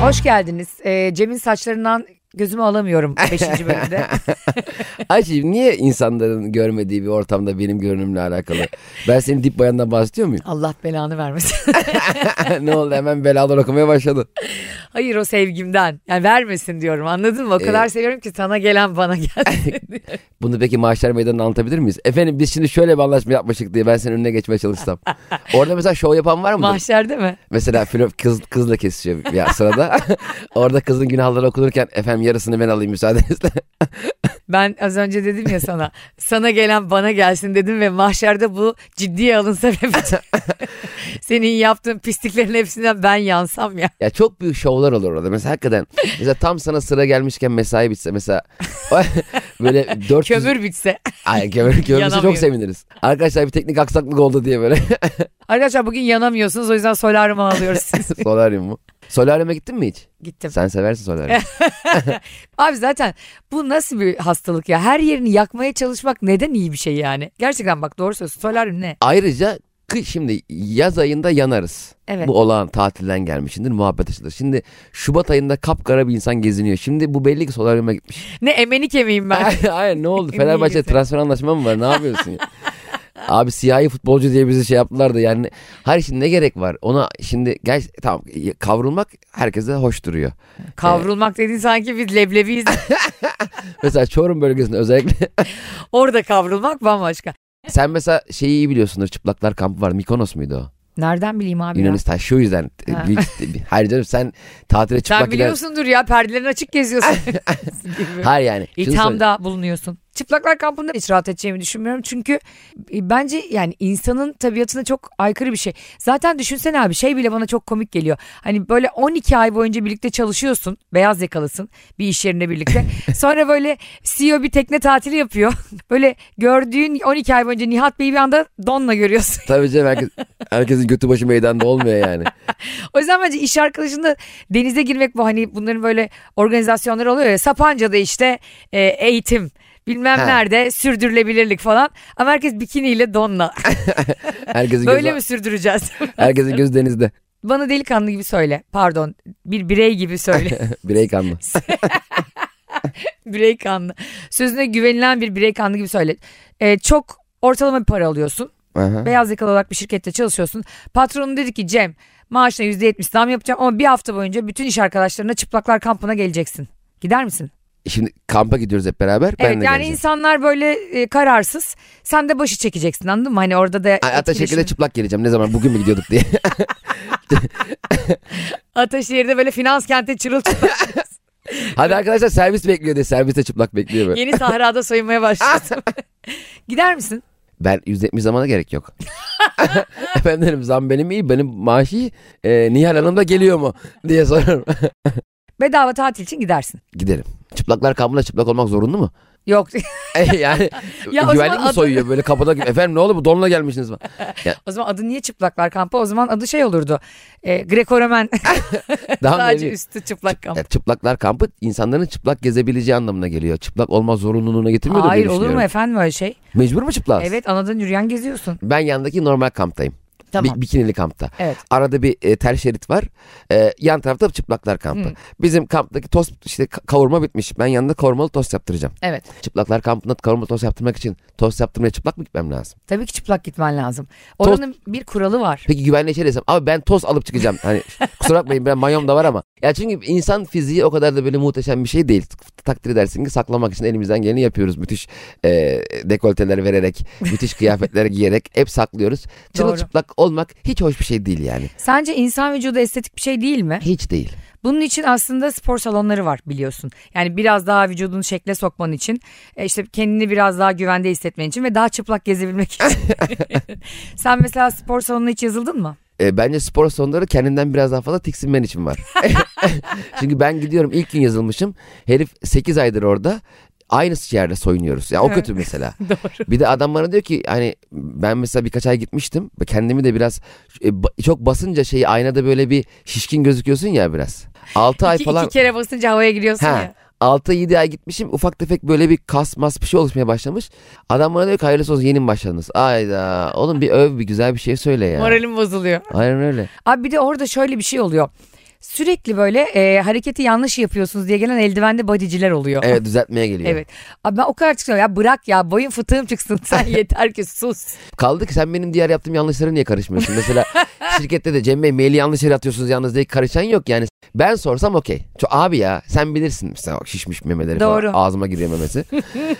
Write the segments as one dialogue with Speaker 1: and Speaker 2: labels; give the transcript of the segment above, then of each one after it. Speaker 1: Hoş geldiniz. Ee, Cem'in saçlarından gözümü alamıyorum 5. bölümde.
Speaker 2: Ayşe niye insanların görmediği bir ortamda benim görünümle alakalı? Ben senin dip bayandan bahsediyor muyum?
Speaker 1: Allah belanı vermesin.
Speaker 2: ne oldu hemen belalar okumaya başladı.
Speaker 1: Hayır o sevgimden. Yani vermesin diyorum anladın mı? O kadar seviyorum ki sana gelen bana gelsin.
Speaker 2: Bunu peki mahşer meydanına anlatabilir miyiz? Efendim biz şimdi şöyle bir anlaşma yapmıştık diye ben senin önüne geçmeye çalışsam. Orada mesela şov yapan var mıdır?
Speaker 1: Mahşerde mi?
Speaker 2: mesela filo, kız, kızla kesişiyor ya sırada. Orada kızın günahları okunurken efendim yarısını ben alayım müsaadenizle.
Speaker 1: Ben az önce dedim ya sana. sana gelen bana gelsin dedim ve mahşerde bu ciddiye alınsa ve bütün- senin yaptığın pisliklerin hepsinden ben yansam ya.
Speaker 2: Ya çok büyük şovlar olur orada. Mesela hakikaten mesela tam sana sıra gelmişken mesai bitse mesela böyle 400
Speaker 1: Kömür bitse.
Speaker 2: Ay gömür, gömürse çok
Speaker 1: Yanamıyorum.
Speaker 2: seviniriz. Arkadaşlar bir teknik aksaklık oldu diye böyle.
Speaker 1: Arkadaşlar bugün yanamıyorsunuz o yüzden solaryumu alıyoruz siz.
Speaker 2: Solaryum mu? Solaryum'a gittin mi hiç?
Speaker 1: Gittim.
Speaker 2: Sen seversin solaryum.
Speaker 1: Abi zaten bu nasıl bir hastalık ya? Her yerini yakmaya çalışmak neden iyi bir şey yani? Gerçekten bak doğru söylüyorsun. Solaryum ne?
Speaker 2: Ayrıca kış şimdi yaz ayında yanarız.
Speaker 1: Evet.
Speaker 2: Bu olağan tatilden gelmişindir muhabbet açılır. Şimdi Şubat ayında kapkara bir insan geziniyor. Şimdi bu belli ki solaryuma gitmiş.
Speaker 1: Ne emeni kemiğim ben.
Speaker 2: Hayır ne oldu?
Speaker 1: Niye
Speaker 2: Fenerbahçe
Speaker 1: gitti?
Speaker 2: transfer anlaşma mı var? Ne yapıyorsun ya? Abi siyahi futbolcu diye bizi şey yaptılar da yani her şimdi ne gerek var? Ona şimdi gel tamam kavrulmak herkese hoş duruyor.
Speaker 1: Kavrulmak dediğin sanki biz leblebiyiz.
Speaker 2: Mesela Çorum bölgesinde özellikle
Speaker 1: Orada kavrulmak bambaşka.
Speaker 2: Sen mesela şeyi iyi biliyorsundur. Çıplaklar kampı var. Mikonos muydu o?
Speaker 1: Nereden bileyim abi ya?
Speaker 2: Yunanistan. Şu yüzden. e,
Speaker 1: Ha.
Speaker 2: büyük- Hayır canım sen tatile çıplak
Speaker 1: Sen
Speaker 2: gider-
Speaker 1: biliyorsundur ya perdelerin açık geziyorsun. Gibi.
Speaker 2: Hayır yani. şunu söyle-
Speaker 1: İthamda bulunuyorsun. Çıplaklar kampında hiç rahat edeceğimi düşünmüyorum. Çünkü e, bence yani insanın tabiatına çok aykırı bir şey. Zaten düşünsene abi şey bile bana çok komik geliyor. Hani böyle 12 ay boyunca birlikte çalışıyorsun. Beyaz yakalısın bir iş yerine birlikte. Sonra böyle CEO bir tekne tatili yapıyor. Böyle gördüğün 12 ay boyunca Nihat Bey'i bir anda donla görüyorsun.
Speaker 2: Tabii canım herkes, herkesin götü başı meydanda olmuyor yani.
Speaker 1: O yüzden bence iş arkadaşında denize girmek bu hani bunların böyle organizasyonları oluyor ya Sapanca'da işte e, eğitim bilmem
Speaker 2: Ha.
Speaker 1: nerede sürdürülebilirlik falan ama herkes bikiniyle donla.
Speaker 2: Herkesin
Speaker 1: Böyle
Speaker 2: gözü,
Speaker 1: mi sürdüreceğiz?
Speaker 2: herkesin gözü denizde.
Speaker 1: Bana delikanlı gibi söyle pardon bir birey gibi söyle
Speaker 2: Birey kanlı.
Speaker 1: birey kanlı sözüne güvenilen bir birey kanlı gibi söyle. E, çok ortalama bir para alıyorsun
Speaker 2: Aha.
Speaker 1: beyaz yakalı olarak bir şirkette çalışıyorsun patronun dedi ki Cem maaşına %70 zam yapacağım ama bir hafta boyunca bütün iş arkadaşlarına çıplaklar kampına geleceksin. Gider misin?
Speaker 2: Şimdi kampa gidiyoruz hep beraber. ben
Speaker 1: Evet
Speaker 2: de
Speaker 1: yani
Speaker 2: geleceğim.
Speaker 1: insanlar böyle e, kararsız. Sen de başı çekeceksin anladın mı? Hani orada da
Speaker 2: Ay, Hatta
Speaker 1: etkileşim-
Speaker 2: şekilde çıplak geleceğim. Ne zaman bugün mü gidiyorduk diye.
Speaker 1: Ataşehir'de böyle finans kenti çırılçıplak
Speaker 2: Hadi arkadaşlar servis bekliyor diye. Serviste çıplak bekliyor böyle.
Speaker 1: yeni sahrada soyunmaya başladım. Gider misin?
Speaker 2: Ben %70 zamana gerek yok. Efendim derim zam benim iyi benim maaşı iyi. Ee, Nihal Hanım da geliyor mu diye sorarım.
Speaker 1: Bedava tatil için gidersin.
Speaker 2: Giderim. Çıplaklar kampına çıplak olmak zorunlu mu?
Speaker 1: Yok.
Speaker 2: E, yani
Speaker 1: Ya o
Speaker 2: güvenlik
Speaker 1: zaman
Speaker 2: mi
Speaker 1: adı-
Speaker 2: soyuyor böyle kapıda efendim ne oldu bu donla gelmişsiniz mi?
Speaker 1: o zaman adı niye çıplaklar kampı? O zaman adı şey olurdu. E, Greco-Romen
Speaker 2: Daha
Speaker 1: sadece
Speaker 2: önce-
Speaker 1: üstü çıplak kamp.
Speaker 2: Ya, çıplaklar kampı insanların çıplak gezebileceği anlamına geliyor. Çıplak olma zorunluluğuna getirmiyor
Speaker 1: Hayır
Speaker 2: diye
Speaker 1: olur mu
Speaker 2: düşünüyorum.
Speaker 1: efendim öyle şey?
Speaker 2: Mecbur mu çıplak?
Speaker 1: Evet anadan yürüyen geziyorsun.
Speaker 2: Ben yandaki normal kamptayım.
Speaker 1: Tamam.
Speaker 2: Bi- bikinili kampta.
Speaker 1: Evet.
Speaker 2: Arada bir e, tel şerit var. E, yan tarafta çıplaklar kampı. Bizim kamptaki tost işte ka- kavurma bitmiş. Ben yanında kavurmalı tost yaptıracağım.
Speaker 1: Evet.
Speaker 2: Çıplaklar kampında kavurmalı tost yaptırmak için tost yaptırmaya çıplak mı gitmem lazım?
Speaker 1: Tabii ki çıplak gitmen lazım. Oranın bir kuralı var.
Speaker 2: Peki güvenliğe şey desem abi ben toz alıp çıkacağım. Hani kusura bakmayın ben mayom da var ama. Ya çünkü insan fiziği o kadar da böyle muhteşem bir şey değil. Takdir edersin ki saklamak için elimizden geleni yapıyoruz. Müthiş e, dekolteler vererek, müthiş kıyafetler giyerek hep saklıyoruz. Çırılçıplak olmak hiç hoş bir şey değil yani.
Speaker 1: Sence insan vücudu estetik bir şey değil mi?
Speaker 2: Hiç değil.
Speaker 1: Bunun için aslında spor salonları var biliyorsun. Yani biraz daha vücudunu şekle sokman için, e, işte kendini biraz daha güvende hissetmen için ve daha çıplak gezebilmek için. Sen mesela spor salonuna hiç yazıldın mı?
Speaker 2: E, bence spor salonları kendinden biraz daha fazla tiksinmen için var. Çünkü ben gidiyorum ilk gün yazılmışım. Herif 8 aydır orada. Aynı yerde soyunuyoruz. Ya o
Speaker 1: Evet.
Speaker 2: kötü mesela.
Speaker 1: Doğru.
Speaker 2: Bir de adam bana diyor ki hani ben mesela birkaç ay gitmiştim. Kendimi de biraz e, ba- çok basınca şeyi aynada böyle bir şişkin gözüküyorsun ya biraz. 6 ay
Speaker 1: İki,
Speaker 2: falan.
Speaker 1: iki kere basınca havaya giriyorsun
Speaker 2: Ha.
Speaker 1: ya.
Speaker 2: 6-7 ay gitmişim ufak tefek böyle bir kas mas bir şey oluşmaya başlamış. Adam bana diyor ki hayırlısı olsun yeni mi başladınız? Ayda oğlum bir öv bir güzel bir şey söyle ya.
Speaker 1: Moralim bozuluyor.
Speaker 2: Aynen öyle.
Speaker 1: Abi bir de orada şöyle bir şey oluyor. sürekli böyle e, hareketi yanlış yapıyorsunuz diye gelen eldivende bodyciler oluyor.
Speaker 2: Evet düzeltmeye geliyor.
Speaker 1: Evet. Abi ben o kadar çıkıyorum ya bırak ya boyun fıtığım çıksın sen yeter ki sus.
Speaker 2: Kaldı ki sen benim diğer yaptığım yanlışlara niye karışmıyorsun? Mesela şirkette de Cem Bey maili yanlış yere atıyorsunuz yalnız diye karışan yok yani. Ben sorsam okey. Ço- Abi ya sen bilirsin mesela bak şişmiş memeleri
Speaker 1: Doğru.
Speaker 2: falan. Ağzıma giriyor memesi.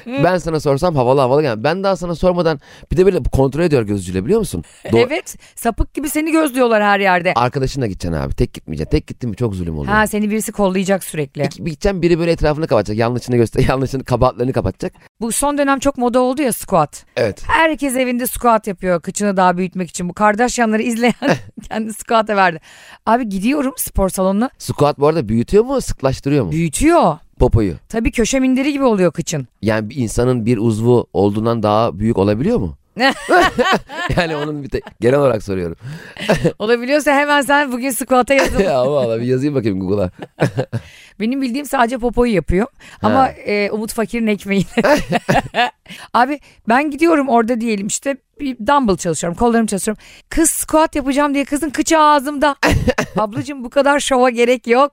Speaker 2: ben sana sorsam havalı havalı yani. Ben daha sana sormadan bir de böyle kontrol ediyor gözcüyle biliyor musun? Do-
Speaker 1: Evet sapık gibi seni gözlüyorlar her yerde.
Speaker 2: Arkadaşınla gideceksin abi. Tek gitmeyeceksin. Tek gittin mi çok zulüm oluyor.
Speaker 1: Ha seni birisi kollayacak sürekli.
Speaker 2: Bir gideceksin biri böyle etrafını kapatacak. Yanlışını göster, yanlışını kabahatlerini kapatacak.
Speaker 1: Bu son dönem çok moda oldu ya squat.
Speaker 2: Evet.
Speaker 1: Herkes evinde squat yapıyor kıçını daha büyütmek için. Bu Kardashianları izleyen kendi squat'a verdi. Abi gidiyorum spor salonuna
Speaker 2: Squat bu arada büyütüyor mu, sıklaştırıyor mu
Speaker 1: büyütüyor.
Speaker 2: popoyu?
Speaker 1: Tabii köşe minderi gibi oluyor kıçın.
Speaker 2: Yani bir insanın bir uzvu olduğundan daha büyük olabiliyor mu? yani onun bir tek genel olarak soruyorum.
Speaker 1: Olabiliyorsa hemen sen bugün squat'a yazıl.
Speaker 2: ya valla bir yazayım bakayım Google'a.
Speaker 1: Benim bildiğim sadece popoyu yapıyor. Ama e, Umut Fakir'in ekmeğini. Abi ben gidiyorum orada diyelim işte bir dumbbell çalışıyorum. Kollarımı çalışıyorum. Kız squat yapacağım diye kızın kıçı ağzımda. Ablacığım bu kadar şova gerek yok.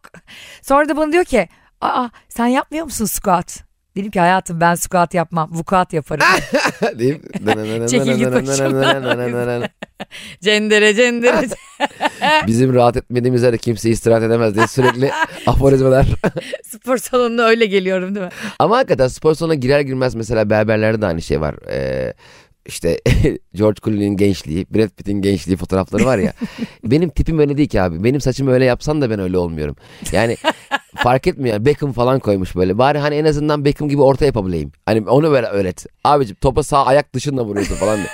Speaker 1: Sonra da bana diyor ki aa sen yapmıyor musun squat? Dedim ki hayatım ben squat yapmam. Vukuat yaparım.
Speaker 2: Deyip.
Speaker 1: Çekil git başımdan. cendere cendere.
Speaker 2: Bizim rahat etmediğimiz yerde kimse istirahat edemez diye sürekli aforizmalar.
Speaker 1: Spor salonuna öyle geliyorum değil mi?
Speaker 2: Ama hakikaten spor salonuna girer girmez mesela berberlerde de aynı şey var. Ee, işte George Clooney'in gençliği, Brad Pitt'in gençliği fotoğrafları var ya. benim tipim öyle değil ki abi. Benim saçımı öyle yapsan da ben öyle olmuyorum. Yani fark etmiyor. Beckham falan koymuş böyle. Bari hani en azından Beckham gibi orta yapabileyim. Hani onu böyle öğret. Abicim topa sağ ayak dışında vuruyorsun falan. diye.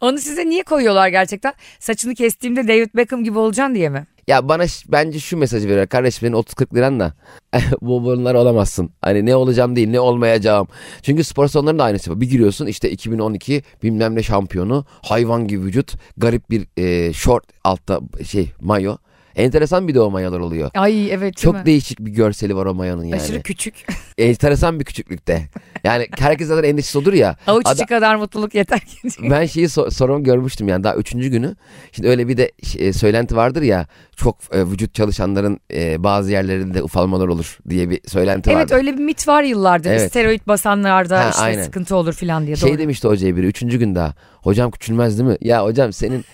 Speaker 1: Onu size niye koyuyorlar gerçekten? Saçını kestiğimde David Beckham gibi olacaksın diye mi?
Speaker 2: ya bana ş- bence şu mesajı veriyor. Kardeş benim 30-40 liran da bu bunlar olamazsın. Hani ne olacağım değil ne olmayacağım. Çünkü spor salonlarında aynısı var. Bir giriyorsun işte 2012 bilmem ne şampiyonu. Hayvan gibi vücut. Garip bir e, short altta şey mayo. Enteresan bir de o mayolar oluyor.
Speaker 1: Ay evet değil
Speaker 2: Çok
Speaker 1: mi?
Speaker 2: değişik bir görseli var o mayonun yani.
Speaker 1: Aşırı küçük.
Speaker 2: Enteresan bir küçüklükte. Yani herkes zaten endişesi olur ya.
Speaker 1: Avuç içi
Speaker 2: Ada-
Speaker 1: kadar mutluluk yeter ki. diye.
Speaker 2: ben şeyi so- sorumu görmüştüm yani daha üçüncü günü. Şimdi öyle bir de ş- e, söylenti vardır ya çok e, vücut çalışanların e, bazı yerlerinde ufalmalar olur diye bir söylenti
Speaker 1: evet
Speaker 2: vardı.
Speaker 1: öyle bir mit var yıllardır.
Speaker 2: Evet.
Speaker 1: Steroid basanlarda
Speaker 2: Ha,
Speaker 1: işte
Speaker 2: aynen.
Speaker 1: sıkıntı olur filan diye.
Speaker 2: Şey
Speaker 1: Doğru.
Speaker 2: demişti hocaya biri üçüncü gün daha. Hocam küçülmez değil mi? Ya hocam senin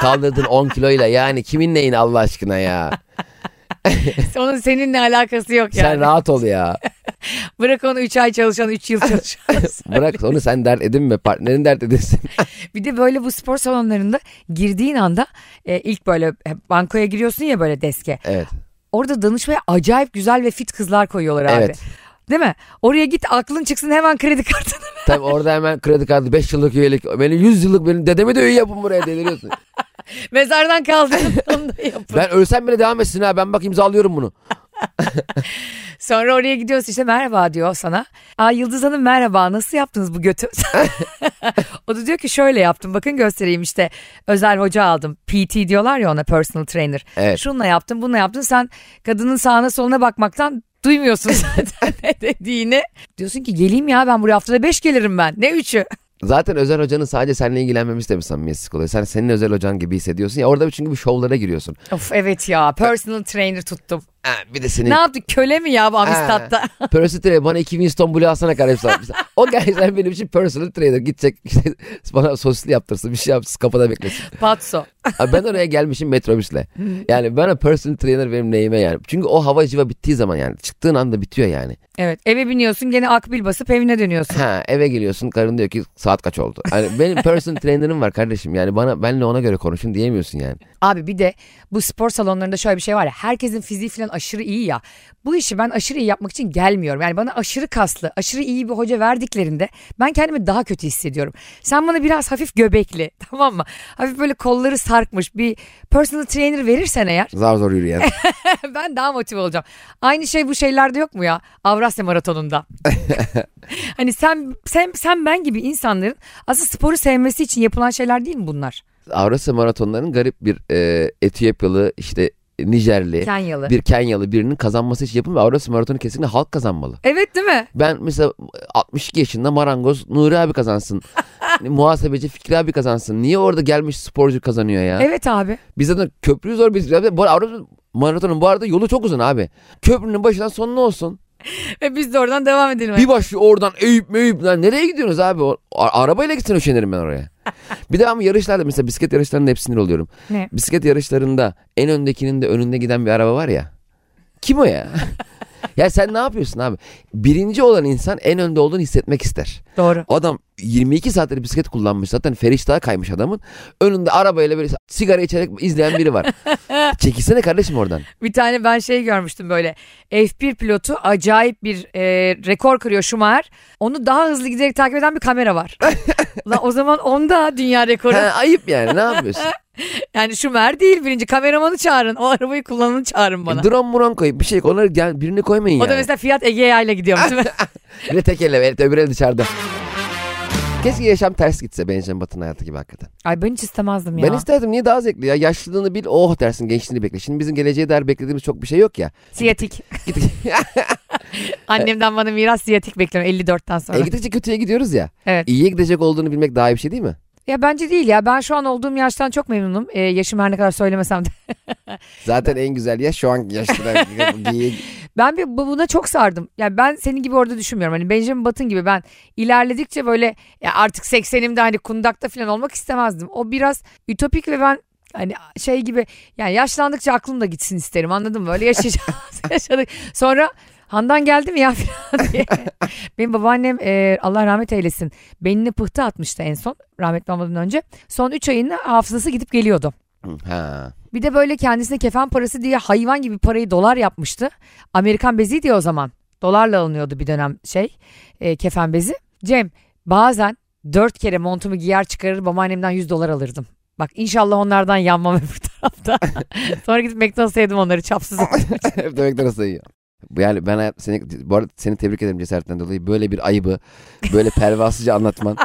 Speaker 2: kaldırdığın 10 kiloyla yani kimin neyin Allah aşkına ya.
Speaker 1: Onun seninle alakası yok yani.
Speaker 2: Sen rahat ol ya.
Speaker 1: Bırak onu 3 ay çalışan 3 yıl çalışan.
Speaker 2: Bırak onu sen dert edinme partnerin dert edinsin.
Speaker 1: bir de böyle bu spor salonlarında girdiğin anda e, ilk böyle e, bankoya giriyorsun ya böyle deske.
Speaker 2: Evet.
Speaker 1: Orada danışmaya acayip güzel ve fit kızlar koyuyorlar abi.
Speaker 2: Evet.
Speaker 1: Değil mi? Oraya git aklın çıksın hemen kredi kartını.
Speaker 2: Tabii orada hemen kredi kartı 5 yıllık üyelik. Benim 100 yıllık benim dedeme de üye yapın buraya deliriyorsun.
Speaker 1: Mezardan kaldırın onu da yapın.
Speaker 2: Ben ölsem bile devam etsin ha ben bak imzalıyorum bunu.
Speaker 1: Sonra oraya gidiyorsun işte merhaba diyor sana. Aa Yıldız Hanım merhaba nasıl yaptınız bu götü? o da diyor ki şöyle yaptım bakın göstereyim işte özel hoca aldım. PT diyorlar ya ona personal trainer.
Speaker 2: Evet.
Speaker 1: Şununla yaptım bununla yaptım sen kadının sağına soluna bakmaktan duymuyorsun zaten ne dediğini. Diyorsun ki geleyim ya ben buraya haftada beş gelirim ben ne üçü.
Speaker 2: Zaten özel hocanın sadece seninle ilgilenmemesi de bir samimiyetsizlik oluyor. Sen senin özel hocan gibi hissediyorsun ya orada çünkü bir şovlara giriyorsun.
Speaker 1: Of evet ya personal trainer tuttum.
Speaker 2: Ha, bir de senin
Speaker 1: Ne yaptık köle mi ya bu Amistad'da?
Speaker 2: personal trainer bana 2000 İstanbul'u alsana kardeşim. o gerçekten benim için personal trainer gidecek işte bana sosisli yaptırsın bir şey yapsın kapıda beklesin.
Speaker 1: Patso.
Speaker 2: Ha, ben oraya gelmişim metrobüsle. Yani bana personal trainer benim neyime yani. Çünkü o hava civa bittiği zaman yani çıktığın anda bitiyor yani.
Speaker 1: Evet eve biniyorsun gene akbil basıp evine dönüyorsun.
Speaker 2: Ha eve geliyorsun karın diyor ki saat kaç oldu. Hani benim personal trainer'ım var kardeşim yani bana benle ona göre konuşun diyemiyorsun yani.
Speaker 1: Abi bir de bu spor salonlarında şöyle bir şey var ya herkesin fiziği falan aşırı iyi ya. Bu işi ben aşırı iyi yapmak için gelmiyorum. Yani bana aşırı kaslı, aşırı iyi bir hoca verdiklerinde ben kendimi daha kötü hissediyorum. Sen bana biraz hafif göbekli tamam mı? Hafif böyle kolları sarkmış bir personal trainer verirsen eğer
Speaker 2: Zar zor yürüyen.
Speaker 1: ben daha motive olacağım. Aynı şey bu şeylerde yok mu ya? Avrasya Maratonu'nda. hani sen, sen, sen ben gibi insanların aslında sporu sevmesi için yapılan şeyler değil mi bunlar?
Speaker 2: Avrasya maratonlarının garip bir e, Etiyopyalı işte Nijerli
Speaker 1: Kenyalı.
Speaker 2: E, bir Kenyalı birinin kazanması için yapılmıyor. Avrasya maratonu kesinlikle halk kazanmalı.
Speaker 1: Evet değil mi?
Speaker 2: Ben mesela 62 yaşında marangoz Nuri abi kazansın. Hani Muhasebeci Fikri abi kazansın. Niye orada gelmiş sporcu kazanıyor ya?
Speaker 1: Evet abi.
Speaker 2: Biz zaten köprüyü zor biz. Bu arada Avrasya Maratonun bu arada yolu çok uzun abi. Köprünün başından sonuna olsun.
Speaker 1: Ve biz de oradan devam edelim.
Speaker 2: Bir başlıyor oradan Eyüp meyüp. Lan nereye gidiyorsunuz abi? O- a- arabayla gitsin üşenirim ben oraya. bir de ama yarışlarda mesela bisiklet yarışlarında hep sinir oluyorum.
Speaker 1: Ne?
Speaker 2: Bisiklet yarışlarında en öndekinin de önünde giden bir araba var ya. Kim o ya? ya sen ne yapıyorsun abi? Birinci olan insan en önde olduğunu hissetmek ister.
Speaker 1: Doğru.
Speaker 2: Adam 22 saattir bisiklet kullanmış zaten feriştaha kaymış adamın. Önünde arabayla böyle sigara içerek izleyen biri var. Çekilsene kardeşim oradan.
Speaker 1: Bir tane ben şey görmüştüm böyle. F1 pilotu acayip bir e, rekor kırıyor Schumacher. Onu daha hızlı giderek takip eden bir kamera var. Ulan o zaman onda dünya rekoru.
Speaker 2: Ha, ayıp yani ne yapıyorsun?
Speaker 1: Yani Schumacher değil birinci. Kameramanı çağırın. O arabayı kullananı çağırın bana.
Speaker 2: Drone muron koyup bir şey onları gel- birini koymayın
Speaker 1: O da
Speaker 2: yani.
Speaker 1: mesela Fiat Egea ile gidiyormuş değil mi?
Speaker 2: Biri tek elle evet, öbürü el dışarıda. Keşke yaşam ters gitse Benjamin Button hayatı gibi hakikaten.
Speaker 1: Ay ben hiç istemezdim ya.
Speaker 2: Ben isterdim niye daha zevkli ya. Yaşlılığını bil oh dersin gençliğini bekle. Şimdi bizim geleceğe dair beklediğimiz çok bir şey yok ya.
Speaker 1: Siyatik. Annemden bana miras siyatik bekliyorum 54'ten sonra.
Speaker 2: E, gidince kötüye gidiyoruz ya.
Speaker 1: Evet.
Speaker 2: İyiye gidecek olduğunu bilmek daha iyi bir şey değil mi?
Speaker 1: Ya bence değil ya. Ben şu an olduğum yaştan çok memnunum. Ee, yaşım her ne kadar söylemesem de.
Speaker 2: Zaten en güzel yaş şu an yaşlılar. İyi-
Speaker 1: Ben bir, bu- buna çok sardım. Yani ben senin gibi orada düşünmüyorum. Hani Benjamin Button gibi ben ilerledikçe böyle ya artık 80'imde hani kundakta falan olmak istemezdim. O biraz ütopik ve ben hani şey gibi yani yaşlandıkça aklım da gitsin isterim anladın mı? Böyle yaşayacağız. yaşadık. Sonra Handan geldi mi ya falan diye. Benim babaannem e, Allah rahmet eylesin beynine pıhtı atmıştı en son rahmetli olmadan önce. Son 3 ayında hafızası gidip geliyordu.
Speaker 2: ha.
Speaker 1: Bir de böyle kendisine kefen parası diye hayvan gibi parayı dolar yapmıştı. Amerikan bezi diye o zaman. Dolarla alınıyordu bir dönem şey e, kefen bezi. Cem bazen dört kere montumu giyer çıkarır babaannemden 100 dolar alırdım. Bak inşallah onlardan yanmam öbür tarafta. Sonra gidip McDonald's'a yedim onları çapsız.
Speaker 2: Hep demek arası iyi. Yani ben hayat- seni, bu arada seni tebrik ederim cesaretinden dolayı. Böyle bir ayıbı, böyle pervasızca anlatman.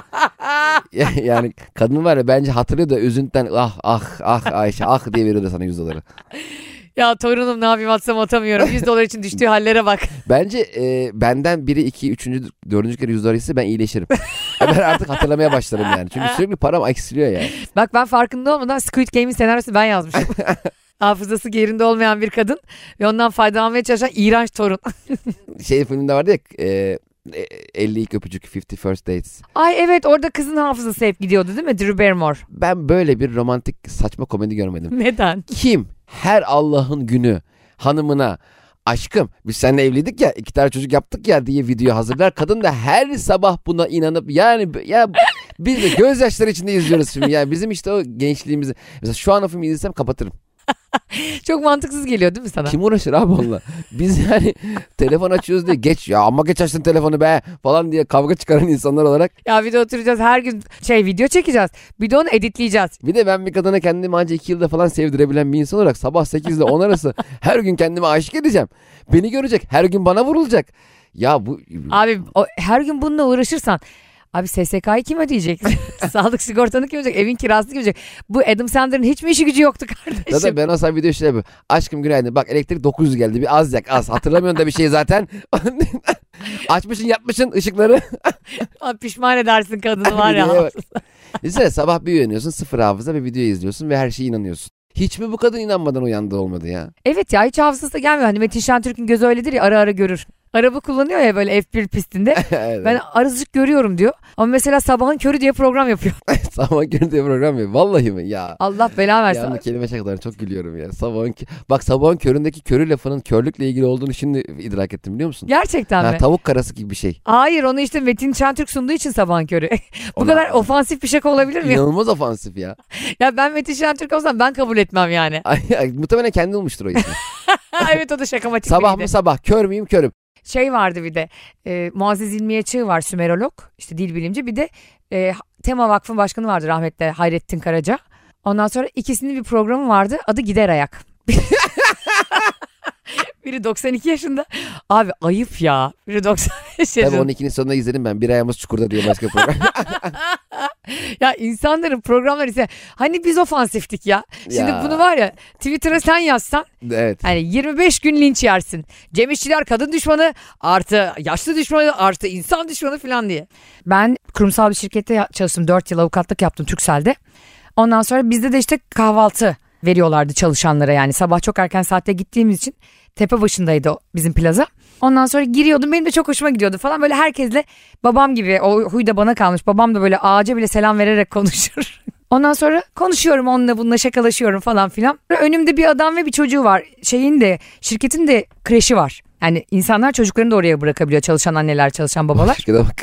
Speaker 2: Ya- yani kadın var ya bence hatırlıyor da üzüntüden ah ah ah Ayşe ah diye veriyordu sana 100 doları.
Speaker 1: ya torunum ne yapayım atsam atamıyorum. 100 dolar için düştüğü hallere bak.
Speaker 2: Bence e, benden biri, iki, üçüncü, dördüncü kere 100 dolar ise ben iyileşirim. Ya ben artık hatırlamaya başlarım yani. Çünkü sürekli param eksiliyor yani.
Speaker 1: Bak ben farkında olmadan Squid Game'in senaryosunu ben yazmışım. Hafızası yerinde olmayan bir kadın ve ondan faydalanmaya çalışan iğrenç torun.
Speaker 2: Şey filminde vardı ya e, e, 50 ilk öpücük 50 first dates.
Speaker 1: Ay evet orada kızın hafızası hep gidiyordu değil mi? Drew Barrymore.
Speaker 2: Ben böyle bir romantik saçma komedi görmedim.
Speaker 1: Neden?
Speaker 2: Kim her Allah'ın günü hanımına aşkım biz seninle evliydik ya iki tane çocuk yaptık ya diye video hazırlar. Kadın da her sabah buna inanıp yani b- ya biz de gözyaşları içinde izliyoruz filmi. Yani bizim işte o gençliğimizi. Mesela şu an o filmi izlesem kapatırım.
Speaker 1: Çok mantıksız geliyor değil mi sana?
Speaker 2: Kim uğraşır abi onunla? Biz yani telefon açıyoruz diye geç ya ama geç açtın telefonu be falan diye kavga çıkaran insanlar olarak.
Speaker 1: Ya bir de oturacağız her gün şey video çekeceğiz. Bir de onu editleyeceğiz.
Speaker 2: Bir de ben bir kadına kendimi anca 2 yılda falan sevdirebilen bir insan olarak sabah 8 ile 10 arası her gün kendime aşık edeceğim. Beni görecek her gün bana vurulacak. Ya bu
Speaker 1: Abi o- her gün bununla uğraşırsan Abi SSK'yı kim ödeyecek? Sağlık sigortanı kim ödeyecek? Evin kirasını kim ödeyecek? Bu Adam Sandler'ın hiç mi işi gücü yoktu kardeşim?
Speaker 2: Zaten ben olsam video şöyle yapıyorum. Aşkım günaydın. Bak elektrik 900 geldi. Bir az yak az. Hatırlamıyorsun da bir şey zaten. Açmışsın yapmışsın ışıkları.
Speaker 1: Abi pişman edersin kadını var
Speaker 2: Videoya
Speaker 1: ya.
Speaker 2: bak. Düşünsene sabah bir uyanıyorsun sıfır hafıza ve video izliyorsun ve her şeye inanıyorsun. Hiç mi bu kadın inanmadan uyandı olmadı ya?
Speaker 1: Evet ya hiç hafızası da gelmiyor. Hani Metin Şentürk'ün gözü öyledir ya ara ara görür. Araba kullanıyor ya böyle F1 pistinde.
Speaker 2: Evet.
Speaker 1: Ben arızcık görüyorum diyor. Ama mesela sabahın körü diye program yapıyor.
Speaker 2: Sabah günü diye program yapıyor. Vallahi mi ya?
Speaker 1: Allah bela
Speaker 2: Ya bu
Speaker 1: versin.
Speaker 2: kelime şakalarına çok gülüyorum ya. Sabahın kö- Bak sabahın köründeki körü lafının körlükle ilgili olduğunu şimdi idrak ettim biliyor musun?
Speaker 1: Gerçekten
Speaker 2: Ha,
Speaker 1: mi?
Speaker 2: tavuk karası gibi bir şey.
Speaker 1: Hayır onu işte Metin Şentürk sunduğu için sabahın körü. Bu
Speaker 2: Ona-
Speaker 1: kadar ofansif bir şaka olabilir mi? ya?
Speaker 2: İnanılmaz ofansif ya.
Speaker 1: Ya ben Metin Şentürk olsam ben kabul etmem yani.
Speaker 2: Ay, ay, Muhtemelen kendi bulmuştur o ismi.
Speaker 1: evet o da şakamatik
Speaker 2: sabah
Speaker 1: biriydi.
Speaker 2: mı sabah kör müyüm körüm.
Speaker 1: Şey vardı bir de e, Muazzez İlmiye Çığ var Sümerolog işte dil bilimci bir de e, Tema Vakfı Başkanı vardı rahmetli Hayrettin Karaca. Ondan sonra ikisinin bir programı vardı adı Gider Ayak. Biri 92 yaşında. Abi ayıp ya. Biri 95
Speaker 2: Tabii
Speaker 1: yaşında.
Speaker 2: 12'nin sonunda izledim ben. Bir ayağımız çukurda diye başka program.
Speaker 1: Ya insanların programları ise hani biz ofansiftik ya. Şimdi
Speaker 2: Ya.
Speaker 1: bunu var ya Twitter'a sen yazsan
Speaker 2: evet.
Speaker 1: hani 25 gün linç yersin. Cem İşçiler kadın düşmanı artı yaşlı düşmanı artı insan düşmanı falan diye. Ben kurumsal bir şirkette ya- çalıştım 4 yıl avukatlık yaptım Türksel'de. Ondan sonra bizde de işte kahvaltı veriyorlardı çalışanlara yani. Sabah çok erken saatte gittiğimiz için tepe başındaydı o bizim plaza. Ondan sonra giriyordum benim de çok hoşuma gidiyordu falan böyle herkesle babam gibi o huy da bana kalmış. Babam da böyle ağaca bile selam vererek konuşur. Ondan sonra konuşuyorum onunla bununla şakalaşıyorum falan filan. Önümde bir adam ve bir çocuğu var. Şeyin de şirketin de kreşi var. Yani insanlar çocuklarını da oraya bırakabiliyor çalışan anneler çalışan babalar.
Speaker 2: Şirkete bak.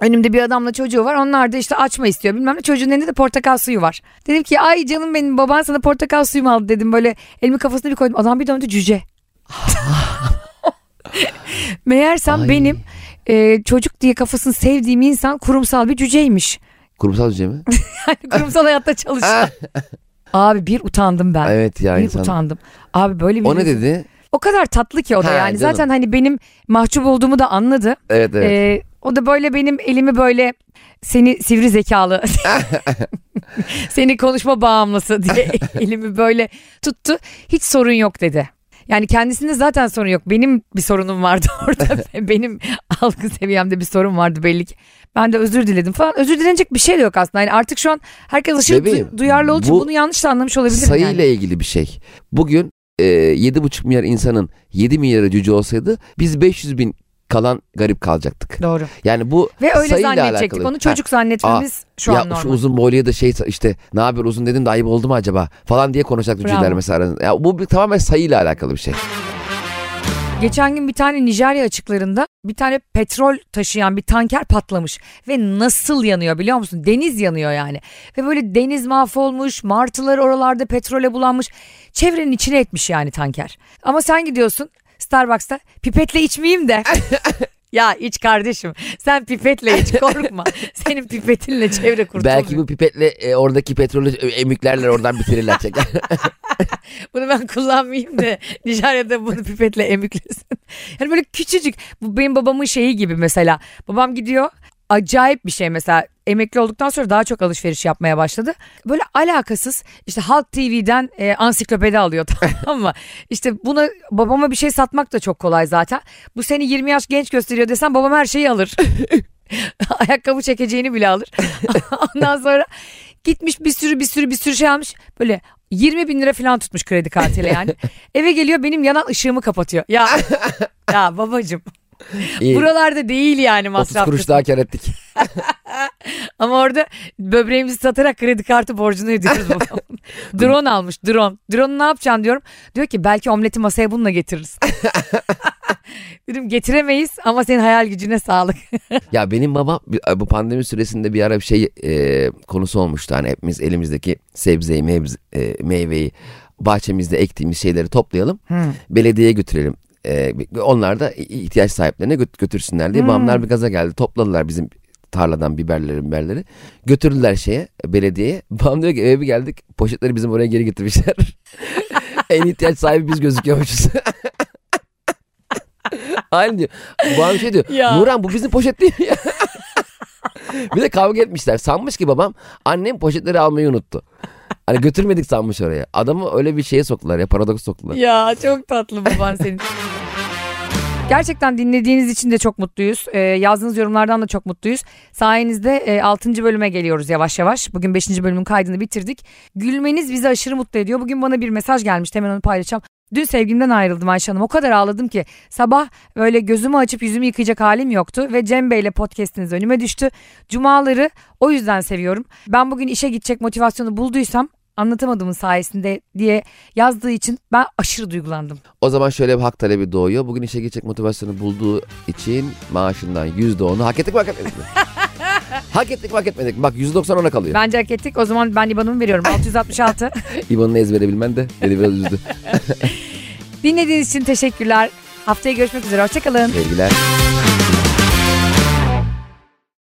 Speaker 1: Önümde bir adamla çocuğu var. Onlar da işte açma istiyor bilmem ne. Çocuğun elinde de portakal suyu var. Dedim ki ay canım benim baban sana portakal suyu mu aldı dedim. Böyle elimi kafasına bir koydum. Adam bir döndü cüce. Meğersem
Speaker 2: Ay.
Speaker 1: benim e, çocuk diye kafasını sevdiğim insan kurumsal bir cüceymiş.
Speaker 2: Kurumsal düzey mi?
Speaker 1: kurumsal hayatta çalışıyor. Abi bir utandım ben.
Speaker 2: evet ya
Speaker 1: bir
Speaker 2: insan.
Speaker 1: utandım. Abi böyle bir
Speaker 2: O ne dedi?
Speaker 1: O kadar tatlı ki o da
Speaker 2: Ha,
Speaker 1: yani.
Speaker 2: canım.
Speaker 1: Zaten hani benim mahcup olduğumu da anladı.
Speaker 2: Evet evet.
Speaker 1: Ee, o da böyle benim elimi böyle seni sivri zekalı seni konuşma bağımlısı diye elimi böyle tuttu. Hiç sorun yok dedi. Yani kendisinde zaten sorun yok. Benim bir sorunum vardı orada. Benim algı seviyemde bir sorun vardı belli ki. Ben de özür diledim falan. Özür dilenecek bir şey de yok aslında. Yani artık şu an herkes aşırı du-
Speaker 2: Bebeğim,
Speaker 1: duyarlı olduğu için
Speaker 2: bu
Speaker 1: bunu yanlış da anlamış olabilir
Speaker 2: Sayıyla
Speaker 1: yani.
Speaker 2: ilgili bir şey. Bugün e, 7,5 milyar insanın 7 milyarı cüce olsaydı biz 500 bin kalan garip kalacaktık.
Speaker 1: Doğru.
Speaker 2: Yani bu
Speaker 1: Ve öyle
Speaker 2: sayıyla
Speaker 1: zannedecektik.
Speaker 2: alakalı.
Speaker 1: Onu çocuk zannetmemiz şu
Speaker 2: ya
Speaker 1: an normal.
Speaker 2: şu uzun boyluya da şey işte ne haber uzun dedim de ayıp oldu mu acaba falan diye konuşacaktı
Speaker 1: Bravo.
Speaker 2: cüceler mesela. arasında. Ya bu bir, tamamen sayıyla alakalı bir şey.
Speaker 1: Geçen gün bir tane Nijerya açıklarında bir tane petrol taşıyan bir tanker patlamış ve nasıl yanıyor biliyor musun? Deniz yanıyor yani. Ve böyle deniz mahvolmuş, martılar oralarda petrole bulanmış. Çevrenin içine etmiş yani tanker. Ama sen gidiyorsun Starbucks'ta pipetle içmeyeyim de. ya iç kardeşim. Sen pipetle iç korkma. Senin pipetinle çevre kurtulmuyor.
Speaker 2: Belki bu pipetle e, oradaki petrolü e, emüklerler oradan bitirirler çeker.
Speaker 1: Bunu ben kullanmayayım da Nijerya'da bunu pipetle emiklesin. Yani böyle küçücük. Bu benim babamın şeyi gibi mesela. Babam gidiyor acayip bir şey mesela emekli olduktan sonra daha çok alışveriş yapmaya başladı. Böyle alakasız işte Halk TV'den e, ansiklopedi alıyor tamam mı? İşte buna babama bir şey satmak da çok kolay zaten. Bu seni 20 yaş genç gösteriyor desem babam her şeyi alır. Ayakkabı çekeceğini bile alır. Ondan sonra gitmiş bir sürü bir sürü bir sürü şey almış. Böyle 20 bin lira falan tutmuş kredi kartıyla yani. Eve geliyor benim yanan ışığımı kapatıyor. Ya ya babacım
Speaker 2: İyi.
Speaker 1: buralarda değil yani
Speaker 2: 30
Speaker 1: masraf.
Speaker 2: kuruş
Speaker 1: kısmı.
Speaker 2: daha kar ettik.
Speaker 1: Ama orada böbreğimizi satarak kredi kartı borcunu ödüyoruz babamın. drone almış drone. Drone'u ne yapacaksın diyorum. Diyor ki belki omleti masaya bununla getiririz. Dedim getiremeyiz ama senin hayal gücüne sağlık.
Speaker 2: Ya benim babam bir- bu pandemi süresinde bir ara bir şey e, konusu olmuştu. Hani hepimiz elimizdeki sebzeyi, mevz- e, meyveyi, bahçemizde ektiğimiz şeyleri toplayalım. Belediyeye götürelim. E, ve onlar da ihtiyaç sahiplerine göt- götürsünler diye. Babamlar bir gaza geldi. Topladılar bizim tarladan biberleri biberleri. Götürdüler şeye belediyeye. Babam diyor ki eve bir geldik poşetleri bizim oraya geri getirmişler. en ihtiyaç sahibi biz gözüküyormuşuz. Aynı diyor. Babam şey diyor.
Speaker 1: Ya.
Speaker 2: Nurhan bu bizim poşet değil mi ya? bir de kavga etmişler. Sanmış ki babam annem poşetleri almayı unuttu. Hani götürmedik sanmış oraya. Adamı öyle bir şeye soktular ya paradoks soktular.
Speaker 1: Ya çok tatlı baban senin. Gerçekten dinlediğiniz için de çok mutluyuz. Ee, yazdığınız yorumlardan da çok mutluyuz. Sayenizde e, 6. bölüme geliyoruz yavaş yavaş. Bugün 5. bölümün kaydını bitirdik. Gülmeniz bizi aşırı mutlu ediyor. Bugün bana bir mesaj gelmiş. Hemen onu paylaşacağım. Dün sevgimden ayrıldım Ayşe Hanım. O kadar ağladım ki sabah böyle gözümü açıp yüzümü yıkayacak halim yoktu. Ve Cem Bey'le podcastiniz önüme düştü. Cumaları o yüzden seviyorum. Ben bugün işe gidecek motivasyonu bulduysam anlatamadığımın sayesinde diye yazdığı için ben aşırı duygulandım.
Speaker 2: O zaman şöyle bir hak talebi doğuyor. Bugün işe geçecek motivasyonu bulduğu için maaşından %10'u hak ettik mi hak etmedik mi? hak ettik mi hak etmedik mi? Bak %90 ona kalıyor.
Speaker 1: Bence hak ettik. O zaman ben IBAN'ımı veriyorum. 666.
Speaker 2: İban'ını ezbere bilmen de beni biraz üzdü.
Speaker 1: Dinlediğiniz için teşekkürler. Haftaya görüşmek üzere. Hoşçakalın.
Speaker 2: Sevgiler.